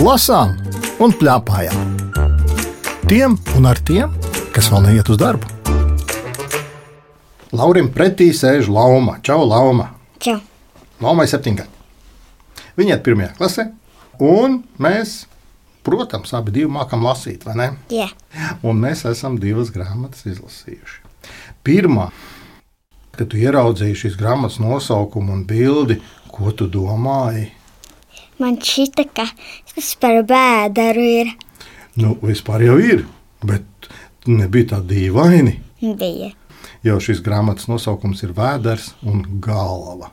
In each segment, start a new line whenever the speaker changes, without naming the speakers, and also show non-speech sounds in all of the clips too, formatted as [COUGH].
lasām un plēpājām. Tiem un ar tiem, kas vēl neiet uz darbu. Laurim pretī sēž Lapa. Čau, Lapa.
Čau.
Lapa ir septiņgadīga. Viņa ir pirmajā klasē, un mēs, protams, abi divi mākam lasīt, vai ne?
Jā.
Un mēs esam divas grāmatas izlasījuši. Pirmā, kad tu ieraudzīji šīs grāmatas nosaukumu un bildi, ko tu domāji?
Man šķita, ka tas par bēdaru ir.
Nu, vispār jau ir, bet nebija tā dīvaini.
Bija.
Jo šīs grāmatas nosaukums ir Vēders un Galva.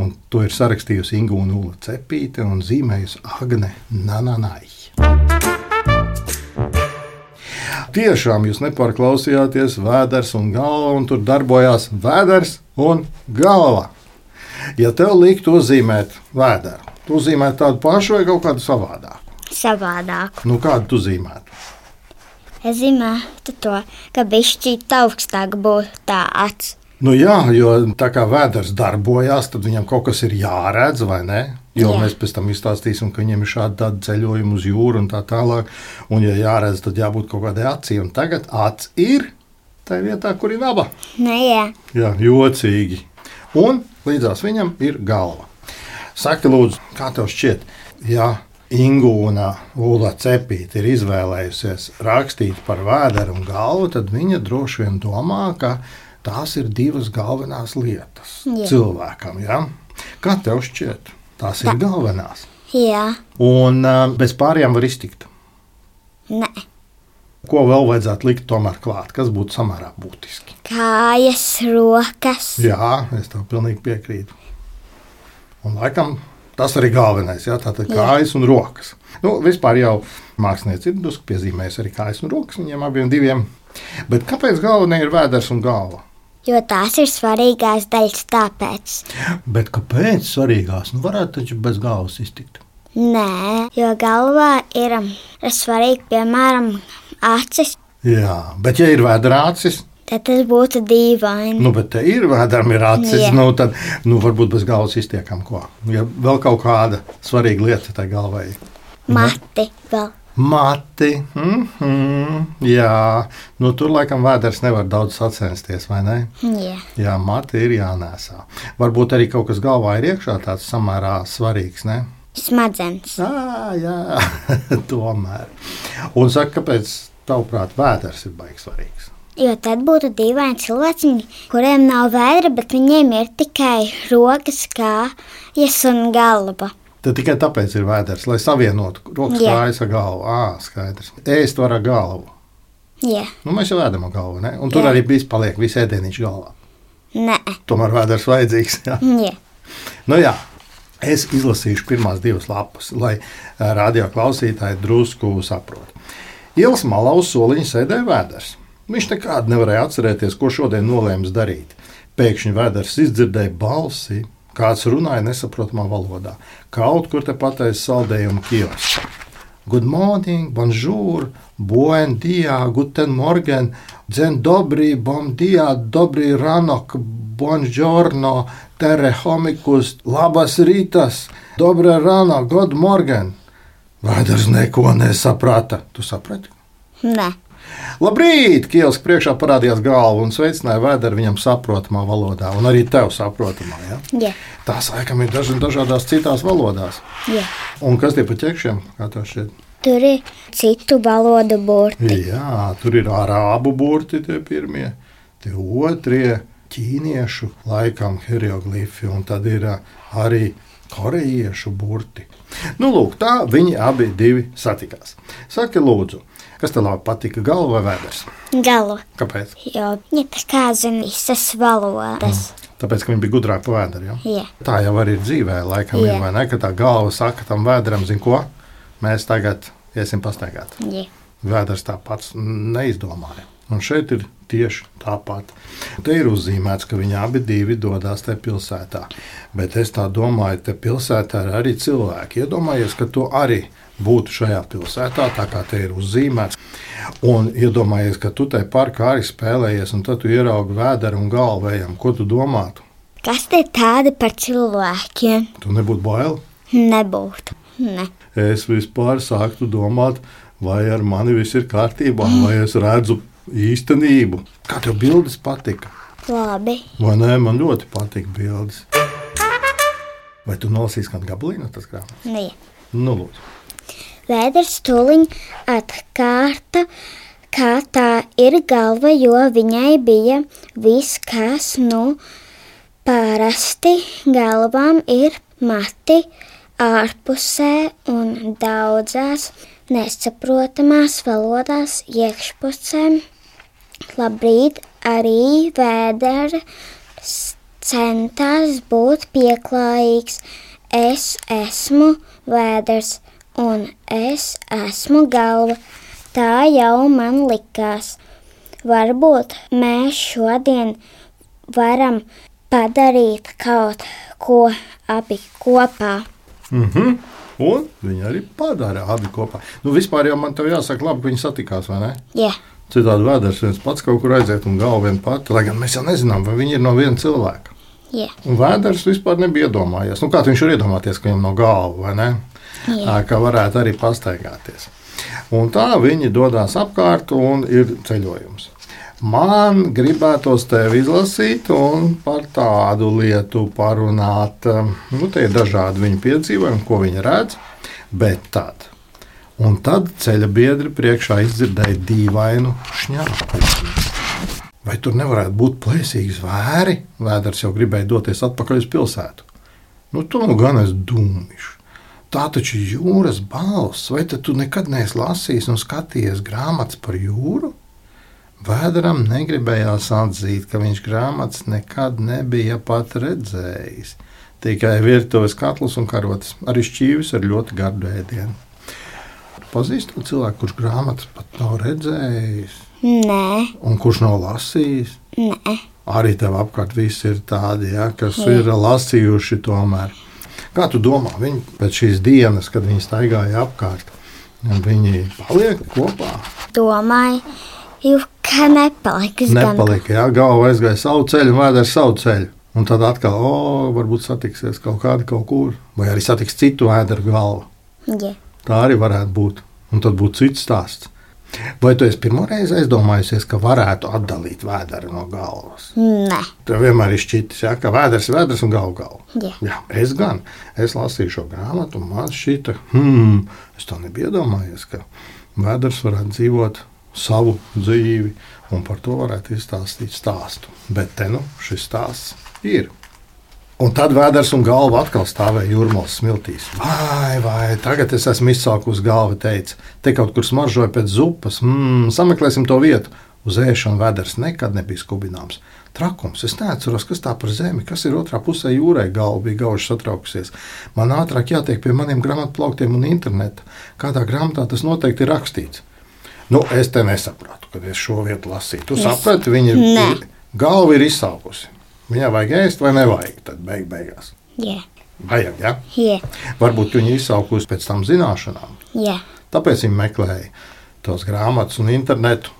Un to ir sarakstījusi Ingūna Ula Cepīte un zīmējusi Agne Nananai. Tiešām jūs nepārklausījāties Vēders un Galva, un tur darbojās Vēders un Galva. Ja tev liktu uzzīmēt Vēderu, tu uzzīmētu tādu pašu vai kaut kādu savādāku.
Savādāk.
Nu, kādu tu zīmētu?
Es zinātu to, ka bišķīt augstāk būtu tāds.
Nu jā, jo tā kā vēders darbojās, tad viņam kaut kas ir jāredz, vai ne? Jo jā.
Jā.
mēs pēc tam izstāstīsim, ka viņiem ir šādi tādi ceļojumi uz jūru un tā tālāk. Un, ja jāredz, tad jābūt kaut kādai acī. Un tagad acis ir tajā vietā, kur ir naba.
Nē, Nu, jā.
Jā, jocīgi. Un līdzās viņam ir galva. Saki, lūdzu, kā tev šķiet, ja Ingūna Ula Cepīte ir izvēlējusies rakstīt par vēderu un galvu, tad viņa droši vien domā, ka tās ir divas galvenās lietas
Jā.
cilvēkam. Ja? Kā tev šķiet, tās ir galvenās?
Jā.
Un ā, bez pārējām var iztikt.
Nē.
Ko vēl vajadzētu likt tomēr klāt, kas būtu samērā būtiski?
Kājas, rokas.
Jā, es tam pilnīgi piekrītu. Un laikam tas arī galvenais, ja tāda kājas un rokas. Nu, vispār jau mākslinieci ir drusku piezīmējusi arī kājas un rokas viņiem abiem diviem. Bet kāpēc galvenais ir vēders un galva?
Jo tās ir svarīgās daļas, tāpēc.
Bet kāpēc svarīgās? Nu, varētu taču bez galvas iztikt.
Nē, jo galvā ir um, svarīgi, piemēram, acis.
Jā, bet ja ir vēderācis,
Tad tas būtu dīvaini.
nu, bet te ir vēderam ir acis,
Jā.
nu, tad, nu, varbūt bez galvas iztiekam ko. Ja vēl kaut kāda svarīga lieta tai galvai ir.
Mati vēl.
Mati. Mm -hmm. Jā, nu, tur laikam vēders nevar daudz sacensties, vai ne?
Jā.
Jā, mati ir jānēsā. Varbūt arī kaut kas galvā ir iekšā tāds samērā svarīgs. Ne?
Smadzenes.
À, jā, [LAUGHS] tomēr. Un saka, kāpēc tavuprāt vēders ir baigs svarīgs?
Jo tad būtu dīvaini cilvēki, kuriem nav vēdra, bet viņiem ir tikai rokas, kājas un galva.
Tad tikai tāpēc ir vēders, lai savienotu rokas
Jā.
kājas ar galvu. Ā, skaidrs. Ēst var ar galvu.
Jā,
Nu, mēs jau ēdam ar galvu, ne? Un tur
Jā.
arī viss paliek, viss ēdieniņš galvā.
nē,
Tomēr vēders vajadzīgs. [LAUGHS] Jā.
jā.
Nu, jā, es izlasīšu pirmās divas lapas, lai radioklausītāji drusku saprotu. Ielas malā uz soliņa sēdēja vēders. Viņš nekādi nevarēja atcerēties, ko šodien nolēmis darīt. Pēkšņi vēders izdzirdēja balsi, kāds runāja nesaprotamā valodā. Kaut kur te pateicis saldējumu kiosku. Good morning, bonjour, buen dia, guten morgen, dzen dobri, bon dia, dobri ranok, bonjourno, tere homikus, labas rītas, dobra rana, good morgen. Vēders neko nesaprata. Tu saprati?
nē.
Labrīt! Kielas priekšā parādījās galva un sveicināja vēderu viņam saprotamā valodā, un arī tev saprotamā. Ja?
Jā,
Tās laikam ir daži, dažādās citās valodās.
jā.
Un kas tie pa ķekšiem? Kā tev šķiet?
Tur ir citu valodu burti.
Jā, tur ir arābu burti, tie pirmie, tie otrie, ķīniešu laikam hieroglifi, un tad ir ā, arī korejiešu burti. Nu, lūk, tā viņi abi divi satikās. Saki, lūdzu, kas tev labi patika, galva vai vēders?
Galva.
Kāpēc?
Jo viņi tā kā zina visas valodas.
Tāpēc, ka viņi bija gudrāki par vēderu. Ja?
Jā,
Tā jau arī ir dzīvē, laikam,
Jā.
ir, vai ne? Ka tā galva saka tam vēderam, zin ko? Mēs tagad iesim pastaigāt.
jā.
Vēders tā pats neizdomāja. Un šeit ir tieši tāpat. Te ir uzzīmēts, ka viņi abi divi dodas te pilsētā. Bet es tā domāju, te pilsētā ir arī cilvēki. Iedomājies, ka tu arī būtu šajā pilsētā, tā kā te ir uzzīmēts. Un iedomājies, ka tu te parkā arī spēlējies, un tad tu ieraugi vēderu un galvējam, ko tu domātu.
Kas te tādi par cilvēkiem?
Tu nebūtu bail.
Nebūtu. ne.
Es vispār sāktu domāt, vai ar mani viss ir kārtībā, vai es redzu īstenību. Kā tev bildes patika?
Labi,
Vai nē, man ļoti patīk bildes. Vai tu nolasīsi kādu gabalīnu no tas grāmatas?
nē.
Nu, lūdzu.
Vēders tuliņ atkārta, kā tā ir galva, jo viņai bija viss, kas nu parasti galvām ir mati ārpusē un daudzās nesaprotamās valodās iekšpusē. Labrīt arī vēders centās būt pieklājīgs. Es esmu vēders un es esmu galva. Tā jau man likās. Varbūt mēs šodien varam padarīt kaut ko abi kopā.
Mhm. Un viņi arī padara abi kopā. Nu, vispār jau man te jāsaka, labi, ka viņi satikās, vai ne?
Yeah.
Citādi vēders viens pats kaut kur aiziet un galva viena pati. Lai gan mēs jau nezinām, vai viņi ir no viena cilvēka.
Yeah.
Un vēders vispār nebija iedomājies. Nu, kā viņš var iedomāties, ka viņam nav galva, vai ne?
Jā.
Ā, Ka varētu arī pastaigāties. Un tā viņi dodas apkārt un ir ceļojums. Man gribētos tevi izlasīt un par tādu lietu parunāt. Nu, tie ir dažādi viņa piedzīvojumi, ko viņi redz. Bet tad, un tad ceļa biedri priekšā izdzirdēja dīvainu šņāpu. Vai tur nevarētu būt plēsīgi zvēri? Vēders jau gribēja doties atpakaļ uz pilsētu. Nu, to nu gan es domāju. Tā taču ir jūras balss, vai tad tu nekad neesi lasījis un skatījies grāmatas par jūru? Vēderam negribējās atzīt, ka viņš grāmatas nekad nebija pat redzējis. Tikai virtuves katls un karotes, arī šķīvis ar ļoti garu ēdienu. Pazīstam cilvēku, kurš grāmatas pat nav redzējis
Nē,
un kurš nav lasījis.
nē,
Arī tev apkārt viss ir tādi, ja, kas ir lasījuši tomēr. Kā tu domā, viņi pēc šīs dienas, kad viņi staigāja apkārt, viņi paliek kopā?
domāju, ka nepaliks gan.
Nepalika, jā, galva aizgāja savu ceļu, vēdera savu ceļu. Un tad atkal, o, varbūt satiksies kaut kāda kaut kur, vai arī satiks citu vēdera galvu.
Yeah.
Tā arī varētu būt. Un tad būtu cits stāsts. Vai tu esi pirmoreiz aizdomājusies, ka varētu atdalīt vēderu no galvas?
Nē,
Tev vienmēr ir šķitis, ja, ka vēders ir vēders un galva galva.
yeah.
Jā, es gan. Es lasīju šo grāmatu, un man šķita, hmm, es to nebiju iedomājies, ka vēders varētu dzīvot savu dzīvi, un par to varētu izstāstīt stāstu. Bet te nu šis stāsts ir. Un tad vēders un galva atkal stāvēja jūrmālas smiltīs. Vai, vai, tagad es esmu izsākusi galvu, teica, te kaut kur smaržoja pēc zupas, mm, sameklēsim to vietu. Uz ēšanu vēders nekad nebija skubināms. Trakums, es neatceros, kas tā par zemi, kas ir otrā pusē jūrai, galva bija gauži satraukusies. Man ātrāk jātiek pie maniem grāmatplauktiem un interneta. Kādā grāmatā tas noteikti ir rakstīts. Nu, es te nesapratu, kad es šo vietu lasīju. Tu saprati, viņa
Nē.
ir, galva ir izsākusi. Viņai vajag ēst vai nevajag, tad beig beigās.
Yeah.
Vajag, ja?
Yeah.
Varbūt viņi izsaukusi pēc tam zināšanām.
Yeah.
Tāpēc viņi meklēja tos grāmatas un internetu.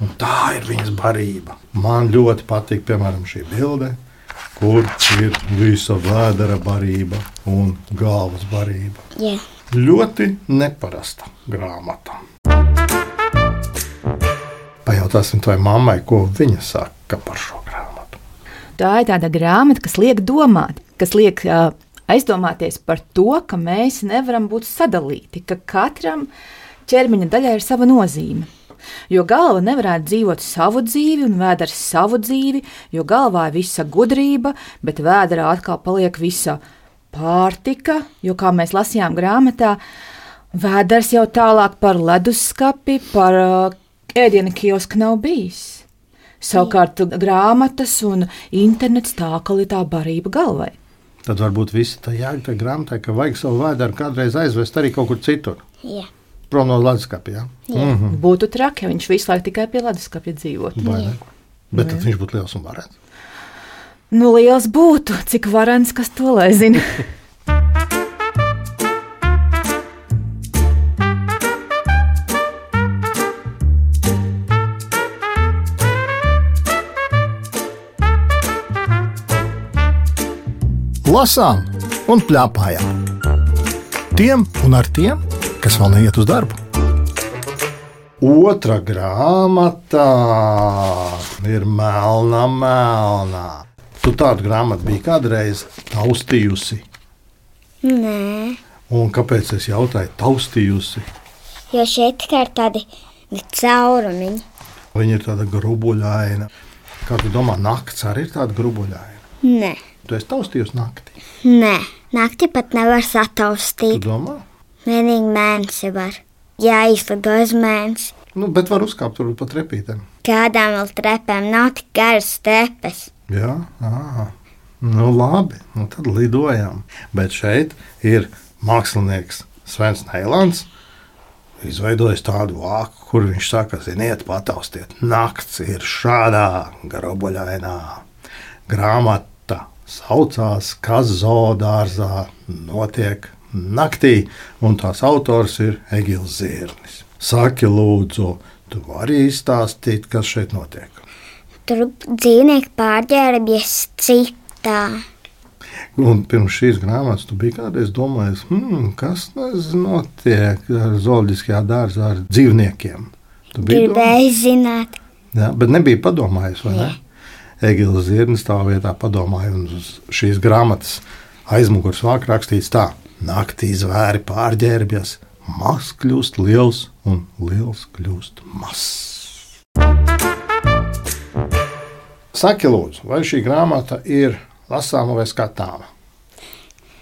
Un tā ir viņas barība. Man ļoti patīk, piemēram, šī bilde, kur ir visa vēdera barība un galvas barība.
Yeah.
Ļoti neparasta grāmata. Pajautāsim tai mammai, ko viņa saka par šo grāmatu.
Tā ir tāda grāmata, kas liek domāt, kas liek ā, aizdomāties par to, ka mēs nevaram būt sadalīti, ka katram ķermeņa daļai ir sava nozīme. Jo galva nevarētu dzīvot savu dzīvi, un vēders savu dzīvi, jo galvā ir visa gudrība, bet vēderā atkal paliek visa pārtika, jo, kā mēs lasījām grāmatā, vēders jau tālāk par leduskapi, par ā, ēdienu kiosku nav bijis. Savukārt grāmatas un internets tā kā ir tā barība galvai.
Tad varbūt viss tā jēga tajā grāmatā, ka vajag savu vēdru kādreiz aizvest arī kaut kur citur.
Yeah.
Prom no Latvijas. Ja? Mm,
Mm. Būtu traki, ja viņš visu laiku tikai pie leduskapja dzīvotu.
vai ne? Bet tad viņš būtu liels un varētu.
Nu, liels būtu, cik varants, kas to lai zina.
Lasām un plēpājām. tiem un ar tiem, kas vēl neiet uz darbu. Otra grāmata ir melna, melna. Tu tādu grāmatu biji kādreiz taustījusi.
Nē,
Un kāpēc es jautāju, taustījusi?
jo šeit tikai ir tādi caurumiņi.
Viņa ir tāda grubuļaina. Kā tu domā, naktis arī ir tāda grubuļaina?
Nē,
Tu esi taustījusi naktī.
nē. naktī pat nevar
Tu
sataustīt.
domā?
Vienīgi mēnesi var. Jā, izlido uz mēnesi.
Nu, bet var uzkāpt varbūt pat repītēm.
Kādām vēl trepēm nav tik garas trepes.
Jā, ā. nu labi, nu tad lidojam. Bet šeit ir mākslinieks Svens Neilants. Izveidojis tādu vāku, kur viņš saka, ziniet, pataustiet, naktis ir šādā garobaļainā. Grāmata saucās Kazo dārzā notiek naktī, un tās autors ir Egils Zirnis. Saki, lūdzu, tu vari izstāstīt, kas šeit notiek?
Tur dzīvnieki pārģērbjas citā.
Un pirms šīs grāmatas tu biji kādreiz domājis, hmm, kas tas notiek ar zooloģiskajā dārzā ar dzīvniekiem. Tu biji domājis,
Gribēju zināt,
jā, bet nebija padomājis, vai ne? Egils Zirnis tā vietā padomāja, un uz šīs grāmatas aizmugurs vāk rakstīts tā. Naktī zvēri pārģērbjas, mazs kļūst liels un liels kļūst mazs. Saki, lūdzu, vai šī grāmata ir lasāma vai skatāma?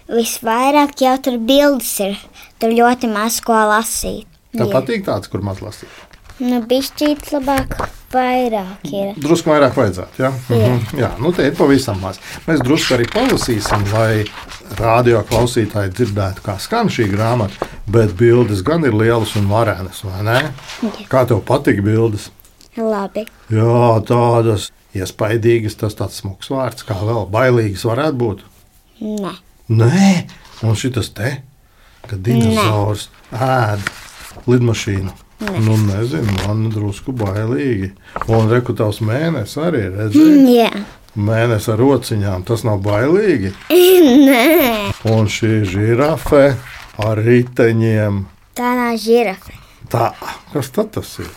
visvairāk jau tur bildes ir. Tur ļoti maz ko lasīt.
Tev
Jā.
patīk tāds, kur maz lasīt.
Nu, bišķīt labāk, vairāk ir.
Drusku vairāk vajadzētu. Ja? Mhm. Jā, nu te ir pavisam maz. Mēs drusku arī palasīsim, lai radio klausītāji dzirdētu, kā skan šī grāmata. Bet bildes gan ir lielas un varenas, vai ne?
Jā.
Kā tev patīk bildes?
Labi.
Jā, tādas iespaidīgas, tas tāds smags vārds, kā vēl bailīgas varētu būt.
Nē.
Nē, un šis te, kad dinozaurs ēd lidmašīnu. Nu, nezinu, man drusku bailīgi. Un rekrutāls mēnesis arī redzēja.
Jā, [LAUGHS]
Mēnesis ar rociņām, tas nav bailīgi.
nē,
Un šī žirafe ar riteņiem.
tā nav žirafa.
Tā, kas tad tas ir?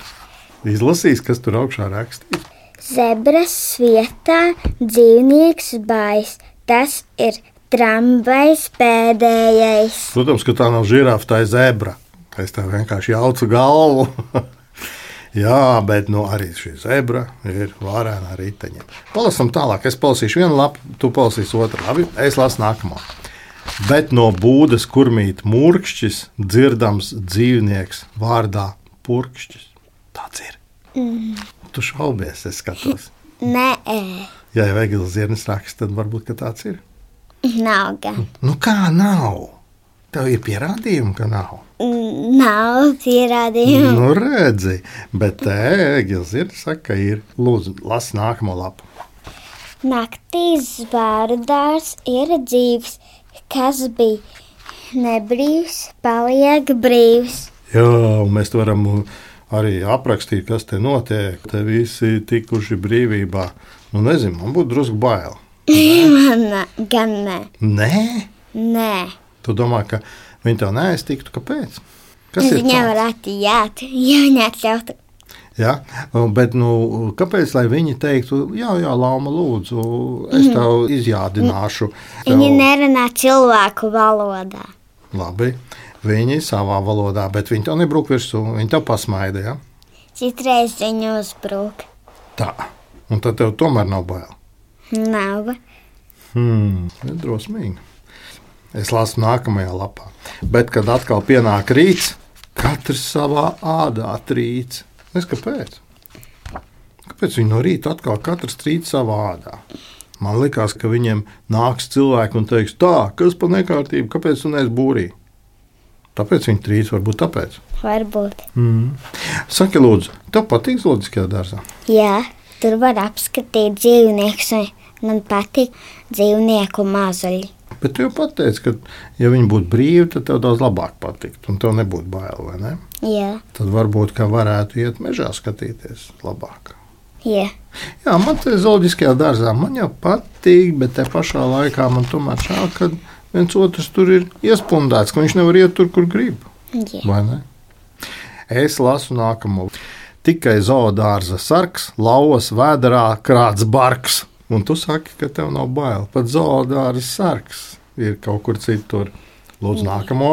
Izlasīs, kas tur augšā rakstīts.
Zebras vietā dzīvnieks bais. Tas ir tramvajs pēdējais.
Protams, ka tā nav žirafa, tā ir zebra. Tā es tā vienkārši jaucu galvu. [LAUGHS] Jā, bet nu, arī šī zebra ir varēna ar riteņiem. Palasam tālāk. Es palasīšu vienu lapu, tu palasīsi otru. Labi, es lasu nākamo. Bet no būdas, kur mīt mūrkšķis, dzirdams dzīvnieks vārdā purkšķis. Tāds ir. Mm. Tu šaubies, es skatos. [LAUGHS]
Nē, ē,
Ja jau Egils Zirnis raksta, tad varbūt ka tāds ir.
nav gan.
Nu kā nav? Tev ir pierādījumi, ka nav.
Nav
[CLEARS THROAT]
pierādījumu.
Nu, redzi, bet ēglis ir, saka, ir. Lūdzu, lasi nākamo lapu.
Naktīs zvārdārs ir dzīvs, kas bija nebrīvs, paliek brīvs. [LAUGHS]
Jā, un mēs to varam uh, arī aprakstīt, kas te notiek. Te visi tikuši brīvībā. Nu, nezinu, man būtu drusku bail.
Man gan nē,
Nē,
nē.
tu domā, ka viņi tev neaiztiktu, kāpēc? Kas ir
Viņa
tā?
varētu jāt, ja viņa atļautu.
Ja? Un, Bet, nu, kāpēc lai viņi teiktu, jā, jā, Lapa, lūdzu, es tev izjādināšu?
Viņa
tev-
nerunā cilvēku valodā.
Labi. Viņi savā valodā, bet viņi to nebrūk virsū. Viņi to pasmaida. Ja?
Citreiz viņa uzbrūk.
Tā. Un tad tev tomēr nav bail.
Nav.
Hmm. ir Drosmīgi. Es lasu nākamajā lapā. Bet, kad atkal pienāk rīts, katrs savā ādā trīc. Es kāpēc? Kāpēc viņi no rīta atkal katrs trīc savā ādā? Man liekas, ka viņiem nāks cilvēki un teiks, tā, kas par nekārtību, kāpēc tu neesi būrī? Tāpēc viņi trīc, varbūt tāpēc.
Varbūt.
Saki, lūdzu, tev patīk zoologiskajā dārzā?
Jā, tur var apskatīt dzīvniekus. un Man patīk dzīvnieku mazuļi.
Bet tu jau pateici, ka, ja viņi būtu brīvi, tad tev daudz labāk patiktu, un tev nebūtu bail, vai ne?
Jā,
Tad varbūt, ka varētu iet mežā skatīties labāk.
jā.
Jā, man te zoologiskajā dārzā man jau patīk, bet te pašā laikā man tomēr šādi, ka viens otrs tur ir iestrādāts, ka viņš nevar iet tur, kur grib.
Jā.
Vai ne? Es lasu nākamo. Tikai zoodārza sarks, lauvas vēdā krāts barks. Un tu saki, ka tev nav bail. Pat zoodārza sarks ir kaut kur citur. Lūdzu, nākamo.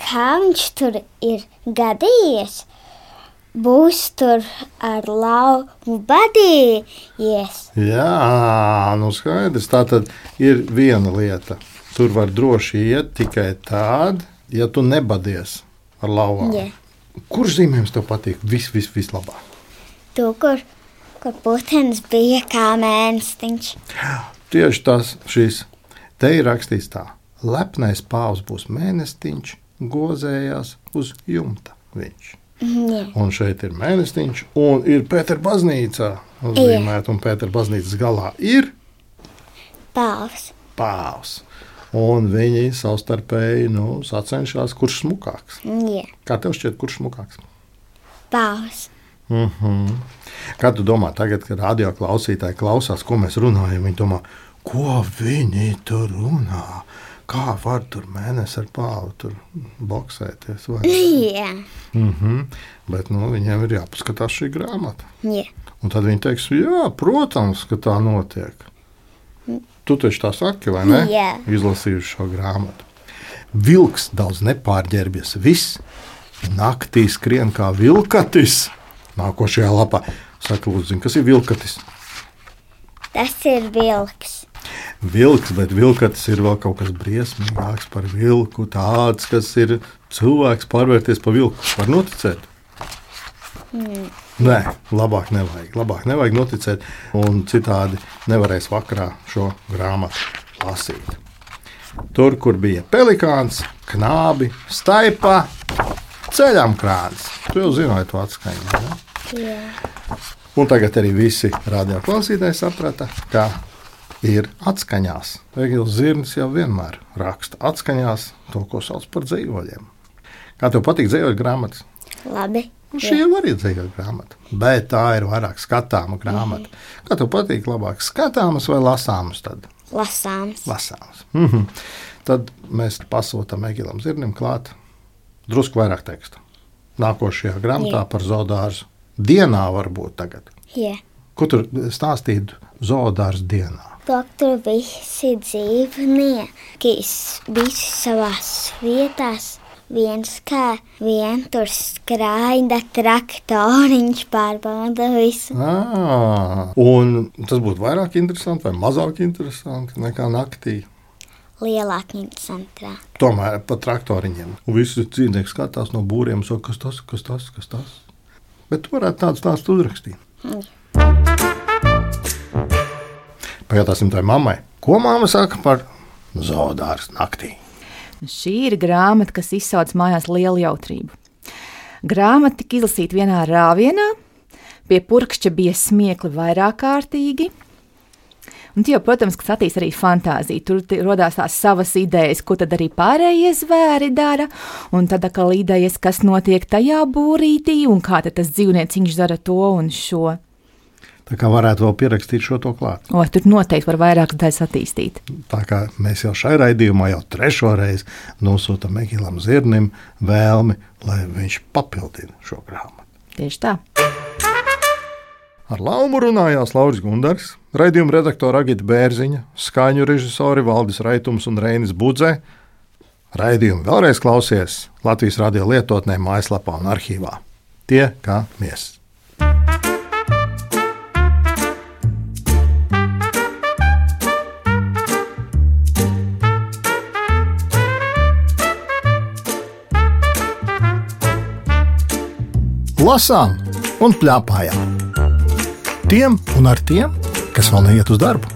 Kā viņš tur ir gadījies? Būs tur ar lauku badījies.
Jā, nu skaidrs. Tā tad ir viena lieta. Tur var droši iet tikai tad, ja tu nebadies ar lauvām.
Jā.
Kurš zīmējums tev patīk vis, vis, vislabāk?
Tur, kur, kur putekļs bija kā mēnestiņš.
Tieši tas šis te ir rakstīts tā. Lepnais pāvs būs mēnestiņš, gozējās uz jumta viņš.
Jā.
Un šeit ir mēnestiņš, un ir Pētera baznīca. Uzzīmēt, un Pētera baznīcas galā ir
Pāvs.
pāvs. Un viņi savstarpēji nu, sacenšas, kurš smukāks.
Jā.
Kā tev šķiet, kurš smukāks?
Pāvs.
Mm -hmm. Kā tu domā, tagad, kad radio klausītāji klausās, ko mēs runājam, viņi domā, ko viņi tur runā? Kā var tur mēnesi ar pālu tur boxēties? Vai?
Jā.
Mm -hmm. Bet nu, viņiem ir jāpaskatās šī grāmata.
Jā.
Un tad viņi teiks, jā, protams, ka tā notiek. Tu taču tā saki, vai ne?
Jā.
Izlasījuši šo grāmatu. Vilks daudz nepārģērbies. Viss naktī skrien kā vilkatis. Nākošajā lapā saka, lūdzu, zini, kas ir vilkatis?
Tas ir vilks.
Vilks, bet vilkatis ir vēl kaut kas briesmīgāks par vilku. Tāds, kas ir cilvēks pārvērties par vilku. Var noticēt? Nē, labāk nevajag. Labāk nevajag noticēt, un citādi nevarēs vakarā šo grāmatu lasīt. Tur, kur bija pelikāns, knābi, staipa, ceļām krāns. Tu jau zināji to atskaņu. vai Ne?
Jā.
Un tagad arī visi radio klausītāji saprata, ka ir atskaņās. Egils Zirnis jau vienmēr raksta atskaņās to, ko sauc par dzīvoļiem. Kā tev patīk dzīvoļu grāmatas?
Labi.
Nu, Šī jau ir dzīvoļu grāmata, bet tā ir vairāk skatāma grāmata. Kā tev patīk labāk skatāmas vai lasāmas? Tad?
Lasāms.
Lasāmas. Mm -hmm. Tad mēs pasūtām Egilam Zirnim klāt drusku vairāk teksta. Nākošajā grāmatā par zoodārzu dienā varbūt tagad.
Jā.
Ko tur stāstīt zoodārs dienā?
To, ka tur visi dzīvnieki s- visi savā vietā. Viens kā viens tur skraida traktoriņš, pārbauda visu.
À, Ah. un tas būtu vairāk interesanti vai mazāk interesanti nekā naktī.
Lielāk, interesantāk.
Tomēr par traktoriņiem. Un visi dzīvnieki skatās no būriem, saka, kas tas, kas tas, kas tas. Bet tu varētu tādu stāstu uzrakstīt. Pajautāsim tai mammai, ko māma saka par zoodārs naktī.
Šī ir grāmata, kas izsauc mājās lielu jautrību. Grāmata tika izlasīta vienā rāvienā, pie purkšķa bija smiekli vairāk kārtīgi. Un tie, jau, protams, ka attīstās arī fantāzija. Tur ti- radās tās savas idejas, ko tad arī pārējie zvēri dara. Un tad atkal idejas, kas notiek tajā būrītī, un kā tad tas dzīvnieciņš dara to un šo.
Tā kā varētu vēl pierakstīt šo to klāt.
O, tur noteikti var vairākas daļas attīstīt.
Tā kā mēs jau šai raidījumā jau trešo reizi nosūtām Egilam Zirnim vēlmi, lai viņš papildina šo grāmatu.
Tieši tā.
Ar Laumu runājās Lauris Gundars, raidījuma redaktora Agita Bērziņa, skaņu režisori Valdis Raitums un Reinis Budze. Raidījumu vēlreiz klausies Latvijas radio lietotnē, mājaslapā un arhīvā. Tie kā mies! Lasām un plēpājām! tiem un ar tiem, kas vēl neiet uz darbu.